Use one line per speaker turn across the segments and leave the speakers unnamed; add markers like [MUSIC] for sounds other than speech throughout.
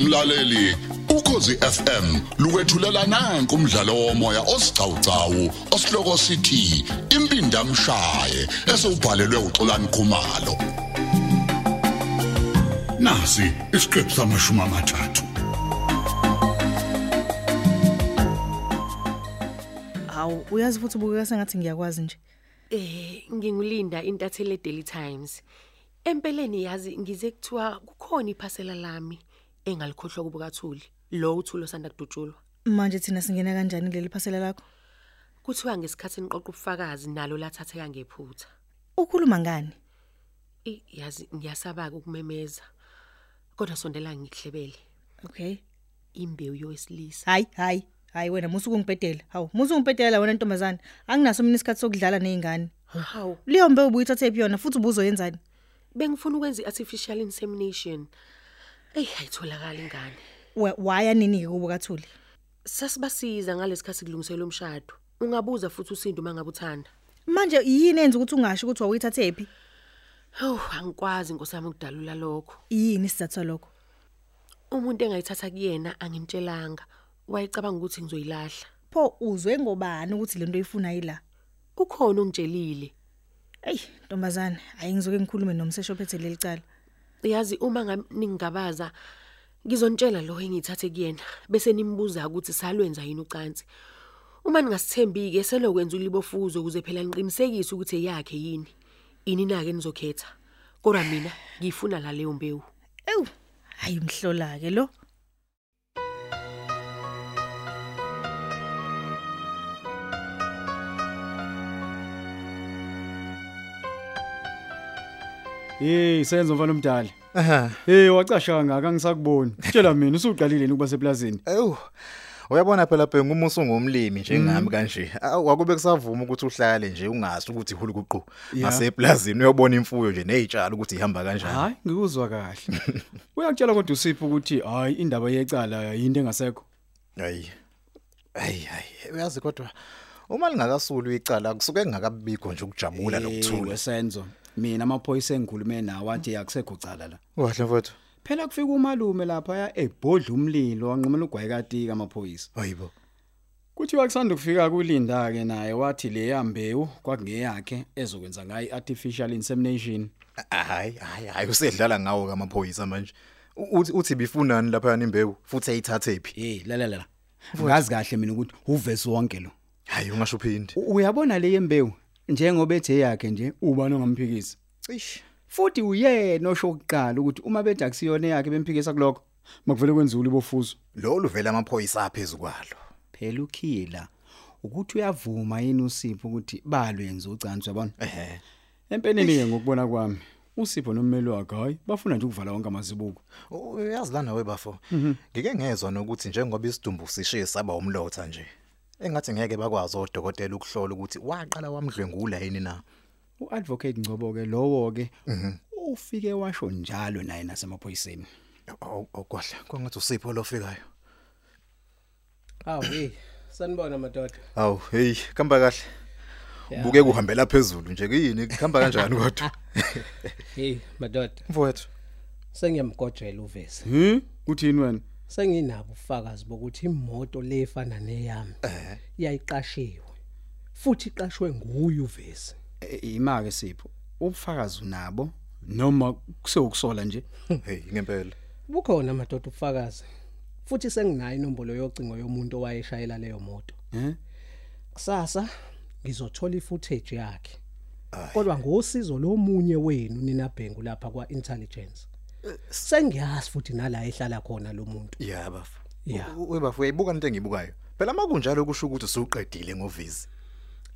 mlaleli ukhosi FM lukwethulela nanku umdlalo womoya osiqhawqhawo osihloko sithi impinda mshaye esubhalelwe uXolani Khumalo nasi isiqephu samashumi amathathu
hawu uyazi futhi ubukeka sengathi ngiyakwazi nje
Eh ngingulinda intatheli Daily Times. Empeleni yazi ngize kuthiwa kukhona iphasela lami engalikhohlwa kubukathuli. Lo uthulo sanda kudutshulwa.
manje thina singena kanjani kuleli phasela lakho
Kuthiwa ngesikhathi niqoqa ubufakazi nalo lathatheka ngephutha.
ukhuluma ngani
I yazi ngiyasaba ukumemeza. Kodwa sondela ngihlebele.
okay
Imbewu yowesilisa.
hayi hayi hayi wena musu kungibhedela hawu musu ungibhedela wena ntombazana anginaso mina isikhathi sokudlala neingane
Hawu,
leyo mbe ubuyithathe epiyona futhi ubuzoyenzani
bengifuna ukwenza iartificial insemination. Ey, ayitholakala ingane.
Wa- waya nini ke kubukathuli
Sasibasiza ngalesikhathi kulungiselwa umshado. Ungabuza futhi usindo mangabe uthanda.
manje yini enza ukuthi ungasho ukuthi wawuyithathe phi
Oh, angikwazi nkosami ukudalula lokho.
yini isizathu salokho
Umuntu engayithatha kuyena angimtshelanga. Wayecabanga ukuthi ngizoyilahla.
pho uzwe ngobani ukuthi lento oyifuna yila
Ukhona ongitshelile.
eyi ntombazana hayi ngizoke ngikhulume nomsesho ophethe leli cala
Uyazi uma ngam- ningingabaza ngizontshela lo engiyithathe kuyena bese nimbuza ukuthi salwenza yini ucansi. Uma ningasithembi ke selokwenza ulibofuzo ukuze phela niqinisekise ukuthi eyakhe yini. Ini na ke nizokhetha. Kodwa mina ngifuna la leyo mbewu.
ewu hayi mhlola ke lo
Hey, senzo mfana omdala.
Aha.
Hey, wacashanga akangisakuboni. Tshela mina usuqalile ukuba seplazini.
Ewu. Uyabona phela bhengu umusu ngomlimi
Mhm.
njengami kanje. Awu, Akube kusavuma ukuthi uhlale nje ungazi ukuthi uhulu kuqu.
Yeah.
Ngaseplazini uyobona imfuyo nje nezitshalo ukuthi ihamba kanjani.
Hayi, ngikuzwa kahle. Uyakutshela kodwa usipho ukuthi hayi indaba yecala yinto engasekho.
Hayi. Hayi hayi. Uyazi kodwa uma lingakasulu icala kusuke ngakabikho nje ukujabula
Eh,
nokuthula.
Senzo, mina amaphoyisa engikhulume nawo athi akusekho cala la.
Wahle mfowethu.
Phela kufika umalume lapha ya ebhodla umlilo wanqumela ugwayekati kamaphoyisa.
Hayibo.
Kuthiwa kusanda kufika kulinda ke naye wathi le yambewu kwakungeyakhe ezokwenza ngayo artificial insemination.
Hayi hayi hayi usedlala ngawo kamaphoyisa manje. U- Uthi uthi bifunani lapha yanimbewu futhi ayithathe phi?
Hey, la la la. Ngazi kahle mina ukuthi uvesi wonke lo.
Hayi ungasho phindi.
U- uyabona le yembewu njengoba ethe yakhe nje ubani ongamphikisi
Cish.
futhi uyena osho kuqala ukuthi uma bede akusiyona yakhe bemphikisa kuloko makuvele kwenzule ibofuzo
Lo luvela amaphoyisa aphezulu kwalo.
phela ukhila ukuthi uyavuma yini usipho ukuthi balwenze ucansi yabona
Ehhe.
empeleni ke ngokubona kwami usipho nommeli wakhe hayi bafuna nje ukuvala wonke Mhm. amazibuko
Uyazi lana webafo. Ngike ngezwe nokuthi njengoba isidumbu sishiye saba umlotha nje. Engathi ngeke bakwazi odokotela ukuhlola ukuthi waqala wamdlwengula yini na. Mhm.
uadvocate Ngcobo ke lowo ke ufike washo njalo naye nasemaphoyiseni
Okwahle, kwangathi usipho lofikayo.
Awu hey, sanibona madoda.
Awu, hey, kamba kahle. Ubuke kuhambela phezulu nje kuyini kuhamba
[LAUGHS]
kanjani kodwa?
[LAUGHS] Hey madoda,
Mfowethu.
sengiyamgojela uvesi.
hm kuthini wena
Senginabo ufakazi bokuthi imoto lefana neyami iyayiqashiwe. Futhi iqashwe nguye uvesi.
E- imake sipho ubufakazi nabo noma kusewukusola nje
Hey, ngempela.
Bukhona madoda ufakazi. Futhi senginayo inombolo yocingo yomuntu owayeshayela leyo moto.
eh
Kusasa ngizothola ifootage yakhe. Kodwa ngosizo lomunye wenu nina bhengu lapha kwa intelligence. Sengiyazi futhi nala ehlala khona lo muntu.
Yeah bafo.
Yeah.
U- Webafo uyayibuka into engibukayo. Phela makunjalo kusho ukuthi usuqedile ngovizi.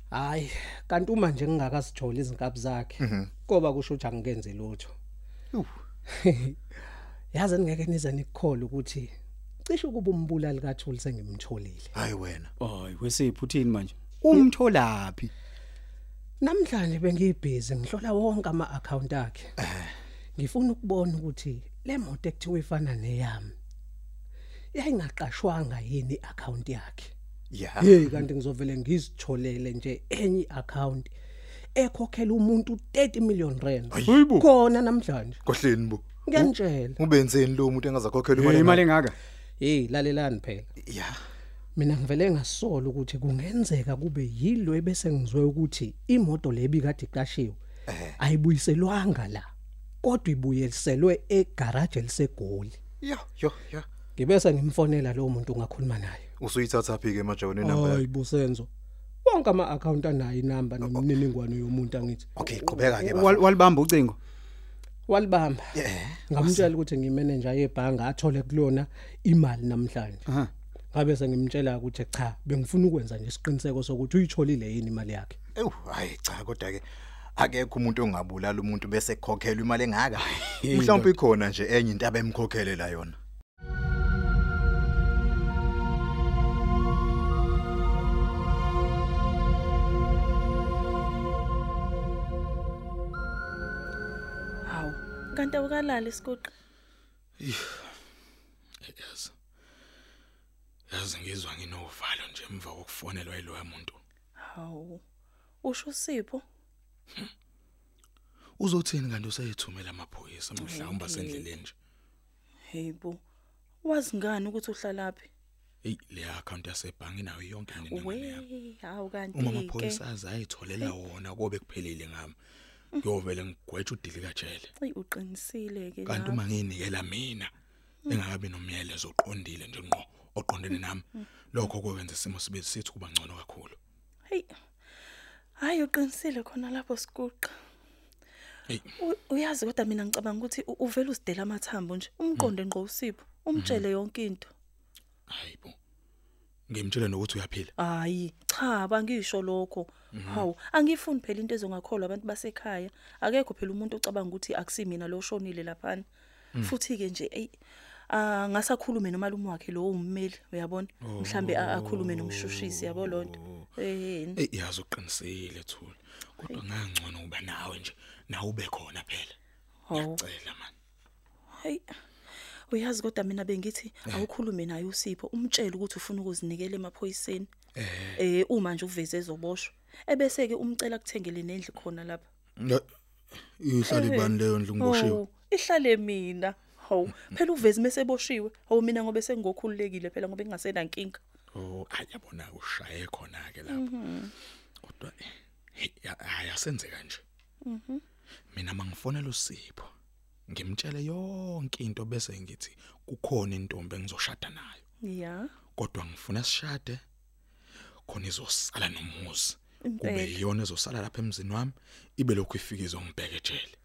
Hayi, kanti uma nje ngingakazithola izinkabi
Mhm.
zakhe, koba kusho ukuthi angikenze lutho. [LAUGHS] Yazi ngeke nize nikukhole ukuthi cishe ukuba umbulali kaThuli sengimtholile.
Hayi wena.
hayi wesipho uthini manje umtholaphi
Namhlanje bengibhizi ngihlola wonke ama-account akhe. Ngifuna ukubona ukuthi le moto ekuthiwa ifana neyami. Yayingaqashwanga yini i-account yakhe.
Yeah.
hey kanti ngizovele ngizitholele nje enye account ekhokhela umuntu 30 million rand
Hayibo.
khona namhlanje
Kohleni bu.
ngiyantshela
Ubenzeni lo muntu engazakhokhela imali?
Eh, imali engaka
hey lalelani phela
Yeah.
mina ngivele ngasola ukuthi kungenzeka kube yilo ebese ngizwe ukuthi imoto lebi kade iqashiwe ayibuyiselwanga la kodwa ibuyiselwe egarage eliseGoli
Yeah, yo, yeah.
ngibese ngimfonela lo muntu ngakhuluma naye
Usuyithatha phi ke majawuni inamba? yakho?
ayibusenzo wonke ama account anayo inamba nemininingwane yomuntu angithi
Okay, qhubeka ke
Wal-
bafo.
walibamba ucingo
walibamba
Yeah.
ngamtshela ukuthi ngimanager yebhanga athole kulona imali namhlanje
Aha.
ngabe sengimtshela ukuthi cha bengifuna ukwenza nje isiqiniseko sokuthi uyitholile yini imali yakhe
Ewu, hayi cha kodwa ke akekho umuntu ongabulala umuntu bese ekhokhela imali engaka. Mhlawumbe ikhona nje enye into abemkhokhele la yona.
hawu kanti awukalali isiqoqi
yazi yazi ngizwa nginovalo nje emva kokufonelwa yiloya muntu
hawu usho sipho
uzothini kanti useyithumela amaphoyisa mhlawumbe asendleleni nje
hey bo wazi ngani ukuthi uhlalaphi
eyi le account yasebhange inayo yonke imininingwane yami
we hawu kanti
uma amaphoyisa aze ayitholela wona kobe kuphelile ngami ngiyovele ngigwetshe udilika jele
ayi uqinisile ke
kanti
lapho.
uma ngiyinikela mina
Mm.
engakabi nomyalezo oqondile nje ngqo oqondene nami
Mm.
lokho kwenza isimo sibe sithi kuba ngcono kakhulu
hey hayi uqinisile khona lapho sikuqa
Hey.
U- uyazi kodwa mina ngicabanga ukuthi u- uvele usidela amathambo nje
Mm.
umqonde ngqo usipho
Mm-hmm.
umtshele yonke into
hayi bo ngimtshela nokuthi uyaphila
hayi cha bangisho lokho hawu angifuni phela into ezongakholwa abantu basekhaya akekho phela umuntu ocabanga ukuthi akusimina lo shonile laphana futhi ke nje eyi angasakhulume nomalume wakhe lo ummeli uyabona mhlambe a- akhulume nomshushisi yabo lonto eheni
Ey yazi uqinisile Thuli. Kodwa ngangcono uba nawe nje, nawe ube khona phela.
hawu
Cela man.
hayi uyazi kodwa mina bengithi awukhulume naye usipho umtshele ukuthi ufuna ukuzinikela emaphoyiseni eh uma nje uveze ezoboshwa ebese ke umcela kuthengele nendlu khona lapha
Ihlali
Eh,
bani leyo ndlu ngiboshiwe.
Hawu, ihlale mina hawu phela uvezi meseboshiwe hawu mina ngobe sengokhululekile phela ngobe ngingasena nkinga
Oh, ayabona ushaye khona ke lapho.
Mhm,
Kodwa eh, ya- hhayi asenze kanje. Mhm. Mina mangifonela uSipho. Ngimtshele yonke into bese ngithi kukhona intombi engizoshada nayo.
ya
Kodwa ngifuna sishade khona izosala nomuzi. Kube
Impela.
iyona ezosala lapha emzini wami ibe lokhu ifikizwe ngibheke ejele.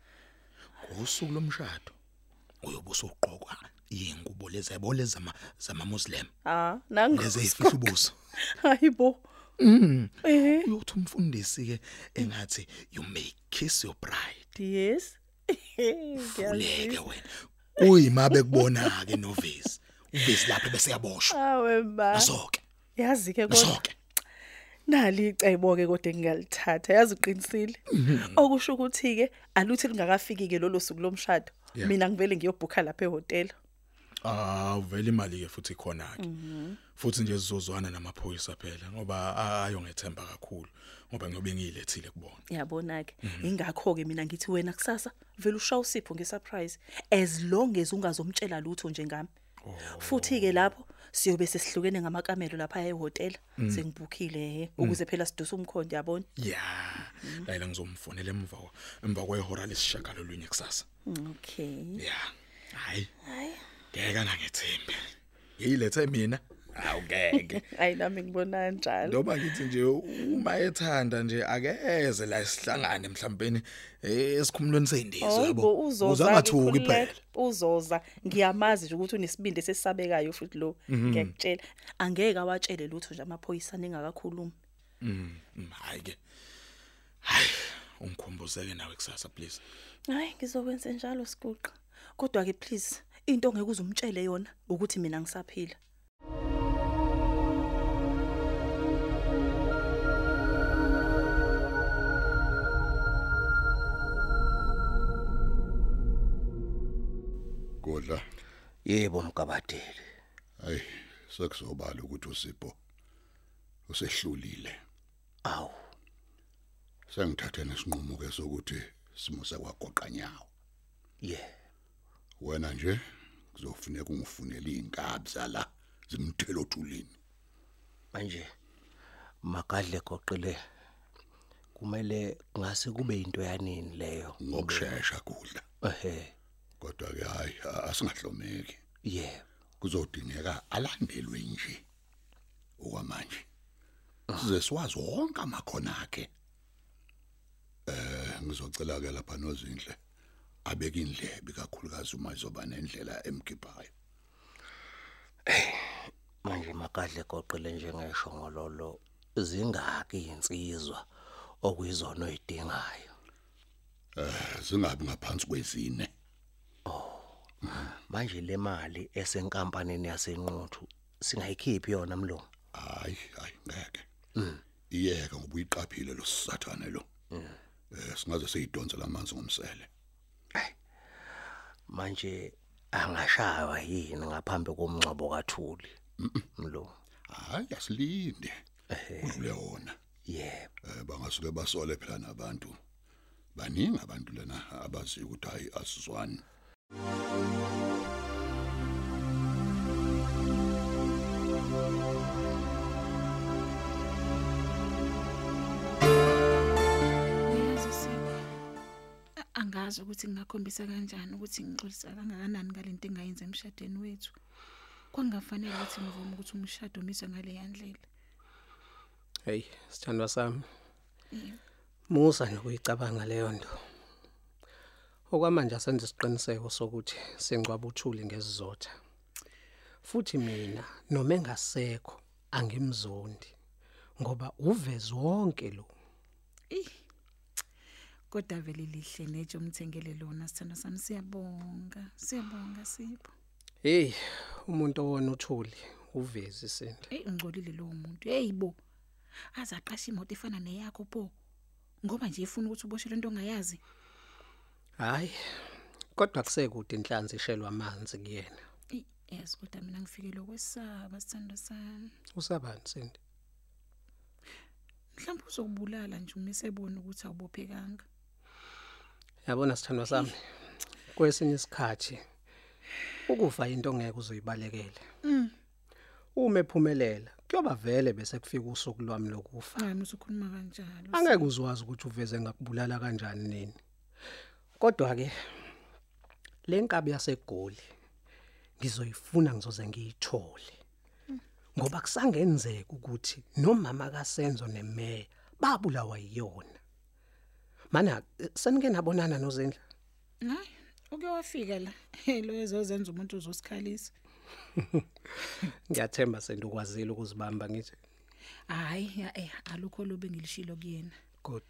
Ngosuku lomshado uyobusa uqokwa ingubo lezebole zama zama Muslim
ah nangu
lezi ezifihla ubuso.
hayibo eh
Uyothi umfundisi ke engathi you may kiss your bride.
yes
Uleke
ngiyazisa
wena. Kuyima bekubona ke novesi. Uvesi lapha bese yaboshwa.
awe ma
Nasoke.
yazi ke kodwa
Nasoke.
nali icebo ke kodwa engingalithatha yazi uqinisile
Mm.
okusho ukuthi ke aluthi lingakafiki ke lolo suku lomshado
Yeah.
mina ngivele ngiyobhukha lapha ehotel
Ah vele imali ke futhi khona ke.
Mhm.
Futhi nje sizozwana namaphoyisa phela ngoba ayo ngethemba kakhulu ngoba ngiyobe ngiyilethile kubona.
yabona ke ingakho ke mina ngithi wena kusasa vele ushaya usipho ngesurprise as long as ungazomtshela lutho njengami futhi ke lapho siyobe sesihlukene ngamakamelo lapha ehotel sengibukhile he ukuze phela siduse umkhondo yabona
Yeah, la ngizomfonela emva emva kwehora lesishakalo lwenye kusasa.
okay
Yeah. Hayi. Ngeke ngangethembi. Yilethe mina. Awugeke.
ayi nami ngibona njalo
Loba ngithi nje uma ethanda nje akeze la sihlangane mhlawumbe esikhumulweni seyindizo
Hayibo uzoza
angathuki phela.
uzoza ngiyamazi nje ukuthi unesibindi sesabekayo futhi lo ngiyakutshela angeke awatshele lutho nje amaphoyisa engakakhulumi
Mm, Hayi ke. Hayi, ungikhumbuzeke nawe kusasa please.
Hayi ngizokwenza njalo sikuqa. Kodwa ke please into ongeke uzumtshele yona ukuthi mina ngisaphila.
Kodla,
Yebo mgabadeli.
hayi sekuzobala ukuthi uSipho usehlulile.
Awu.
Sengithathe nesinqumo ke sokuthi simuse kwagoqa nyawo.
Yeah.
wena nje kuzofuneka ungifunele izinkabi zala zimthelo thulini
manje makadle goqile kumele ngase kube into yanini leyo
ngokusheshsha kudla
ehe
kodwa ke hayi a- asingahlomeki
yebo
kuzodingeka alandelwe nje okwamanje size siwazi wonke amakhono akhe eh ngizocela ke lapha nozinhle abeke indlebe kakhulukazi uma izoba nendlela emkhiphayo
manje makadle goqile njengeshongololo zingaki insizwa okuyizona oyidingayo
Eh, zingabi ngaphansi kwezine
Oh, manje le mali esenkampanini yasenquthu singayikhiphi yona mlungu Mm.
hayi hayi ngeke iyeke ngoba uyiqaphile lo sathane lo eh singaze siyidonsela amanzi ngomsele
manje angashaywa yini ngaphambi komncebo kaThuli mlungu Ah,
hayi asilinde kule wona
yebo
eh bangasuke basole phela nabantu baningi abantu lena abazi ukuthi hayi asizwani
Uyazi Sipho, a- angazi ukuthi ngingakhombisa kanjani ukuthi ngixolisa kangakanani ngalento engayenza emshadweni wethu. Kwangafanele ukuthi ngivume ukuthi umshado umiswe ngale yandlela.
Hey, sithandwa sami.
Yebo.
Musa nokuyicabanga leyo nto. Okwamanje asenze isiqiniseko sokuthi singcwaba uthuli ngesizotha. Futhi mina noma engasekho angimzondi ngoba uveze wonke lo.
Eh. Kodwa vele lihle neje umthengele lona sithando sami siyabonga. Siyabonga Sipho.
Hey, umuntu owona uthuli uveze isinto.
Ey ungcolile lowo muntu. Hey bo. Azaqasha imoto efana neyakho pho. Ngoba nje efuna ukuthi uboshelwe into ongayazi.
Hayi. Kodwa kusekude inhlanzi ishelwa amanzi kuyena.
Eh, yes kodwa mina ngifikele ukwesaba sithando sami.
Usabani sindi?
mhlawumbe uzokubulala nje uma esebona ukuthi awubophekanga
Yabona sithandwa sami. Kwesinye isikhathi ukufa into ongeke uzoyibalekele. Uma ephumelela kuyoba vele bese kufika usuku lwami lokufa.
hayi musukhuluma kanjalo
Angeke uzwazi ukuthi uveze ngakubulala kanjani nini. Kodwa ke lenkabi yasegoli ngizoyifuna ngizoze ngiyithole. Ngoba kusangenzeka ukuthi nomama kaSenzo neMeya babulawa yiyona. Mana eh, senike nabonana nozindla.
hayi uke wafika la [LAUGHS] Hey, lo ezozenza umuntu uzosikhalisa
Ngiyathemba sendukwazile ukuzibamba ngithi
hayi ya- eh alukho lobe ngilishilo kuyena
good.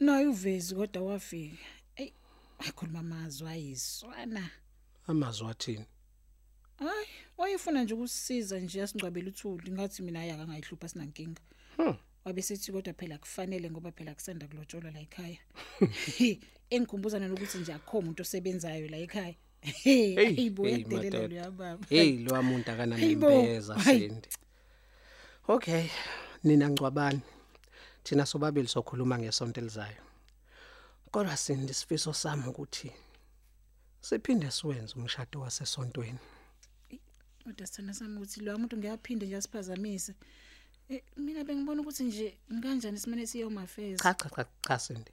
naye uvezi kodwa wafika ey akhuluma amazwi ayiswana
Amazwi athini?
hayi wayefuna nje ukusisiza nje asingcwabele uthuli ngathi mina ayaka ngayihlupha sinankinga wabe sethi kodwa phela kufanele ngoba phela kusanda kulotsholwa la ekhaya engikhumbuza nalokuthi nje akho umuntu osebenzayo la ekhaya hey bo
hey,
yadelela
madoda.
uyababa
Hey lo muntu akana
Hey bo,
nembeza
hayi.
sindi. Okay, nina ngcwabani. Thina sobabili sokhuluma ngesonto elizayo. Kodwa sindi isifiso sami ukuthi siphinde siwenze umshado wasesontweni.
kodwa sithanda sami ukuthi lo muntu ngiyaphinde nje asiphazamise Eh, mina bengibona ukuthi nje ngikanjani simane siye umafeza
Cha cha cha cha sindi.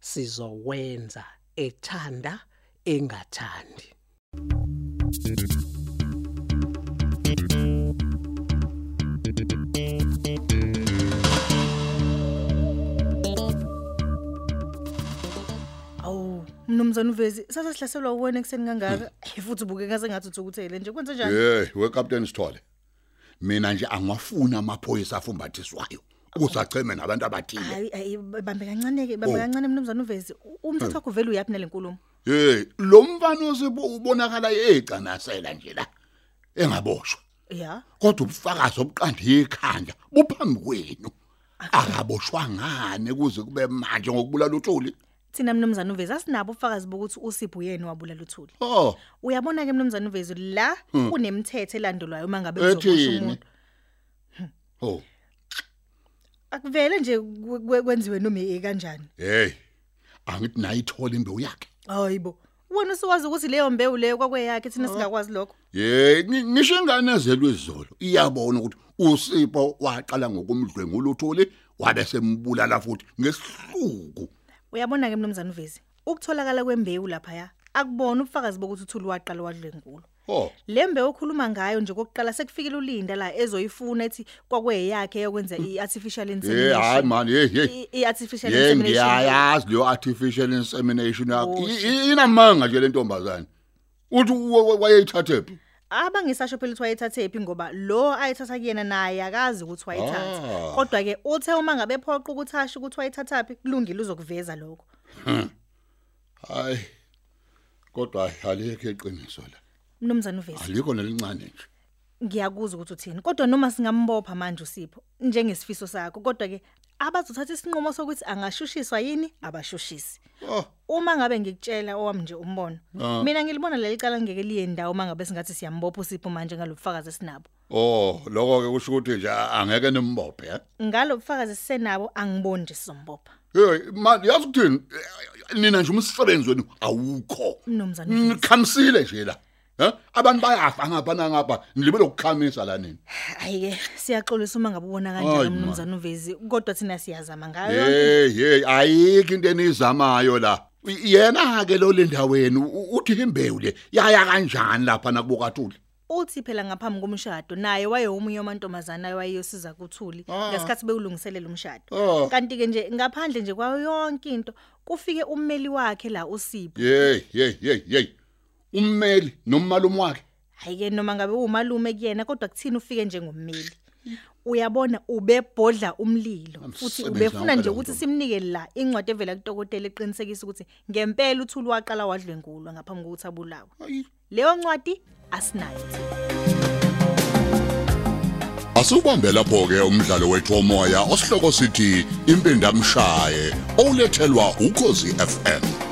Sizowenza ethanda engathandi.
awu mnumzane uvezi sasesihlaselwa uwena ekuseni kangaka Eh, futhi ubukeka sengathi uthukuthele nje kwenze njani
hey we captain sithole mina nje angwafuni amaphoyisa afumbathiswayo kusacheme nabantu abathile
hayi hayi, bambe kancane ke bambe
Oh.
kancane mnumzane uvezi U- umthetho wakho vele uyaphina lenkulumo
hey lo mfana osibo ubonakala ecanasela nje la engaboshwa
ya
kodwa ubufakazi obuqanda ikhanda buphambi kwenu akaboshwa ngane kuze kube manje ngokubulala uthuli
thina mnumzane uvezi asinabo ubufakazi bokuthi usipho yena wabulala uthuli
oh
uyabona ke mnumzane uvezi la kunemithetho elandelwayo uma ngabe kuzokusho
ethini
umuntu
oh
akuvele nje kwe- kwe- kwenziwe noma eh kanjani
hey angithi nayithola imbewu yakhe
hayibo wena usiwazi ukuthi leyo mbewu leyo kwakweyakhe thina singakwazi lokho
Yey, ngi- ngisho ingane ezelwe izolo iyabona ukuthi uSipho waqala ngokumdlwengula uthuli wabe sembulala futhi ngesihluku.
uyabona-ke mnumzane uvezi ukutholakala kwembewu laphaya akubona ubufakazi bokuthi uthule waqala wadlwengula
Ho,
le mbewu okhuluma ngayo nje kokuqala sekufikile ulinda la ezoyifuna ethi kwakweyakhe eyokwenza i-artificial
hey hayi
insemination
man, hey hey.
I- i-artificial
Hey
insemination
ngiyayazi leyo artificial insemination yakho. I- i- Inamanga nje le ntombazana. Uthi wa- wa- wayeyithathephi?
abangisasho phela ukuthi wayethathephi ngoba lo ayethatha kuyena naye akazi ukuthi wayethatha
Ah.
kodwa-ke uthe uma ngabe phoqa ukuthi asho ukuthi wayethathaphi kulungile uzokuveza lokho
Hmm. Hayi. Kodwa alikho iqiniso la.
mnumzane uvezi
Alikho nelincane nje.
ngiyakuza ukuthi uthini kodwa noma singambopha manje usipho njengesifiso sakho kodwa-ke abazothatha isinqumo sokuthi angashushiswa yini abashushisi
Oh.
uma ngabe ngikutshela owami nje umbono
Ah.
mina ngilibona leli cala ngeke liye ndawo uma ngabe singathi siyambopha usipho manje ngalobufakazi esinabo
Oh, lokho ke kusho ukuthi nje a- angeke nimbophe, he?
ngalobufakazi sisenabo angiboni nje sizombopha
Hey, man, yazi ukuthini? eh, Nina nje umsebenzi wenu awukho.
mnumzane
Mm,
Mfisi.
Nikhamisile nje la. He? Abantu bayafa ngapha nangapha, nilibe lokukhamisa la nini.
hhayi-ke siyaxolisa uma ngabe ubona
Hayi,
kanjalo
man.
mnumzane uvezi kodwa thina siyazama ngayo yonke into.
Hey, hey, ayikho into enizamayo la. I- Yena ke lo lendaweni u- uthi imbewu le yaya kanjani lapha nakubokathuli?
uthi phela ngaphambi komshado naye wayewomunye wamantombazane awayeyosiza kuthuli ngesikhathi bewulungiselela umshado
Ah.
kanti-ke nje ngaphandle nje kwayo yonke into kufike ummeli wakhe la usipho
Hey, hey, hey, hey. Ummeli nomalume wakhe.
hhayi-ke noma ngabe uwumalume kuyena kodwa kuthina ufike njengommeli uyabona ubebhodla umlilo futhi
Umsebenzi
ubefuna
wonke
nje
lo
ukuthi
muntu.
simnike la incwadi evela kutokotela eqinisekisa ukuthi ngempela uthuli waqala wadlwengulwa ngaphambi kokuthi abulawe leyo ncwadi asinayo
Asubambe lapho ke umdlalo wethu womoya osihloko sithi impindamshaye olethelwa ukozi FM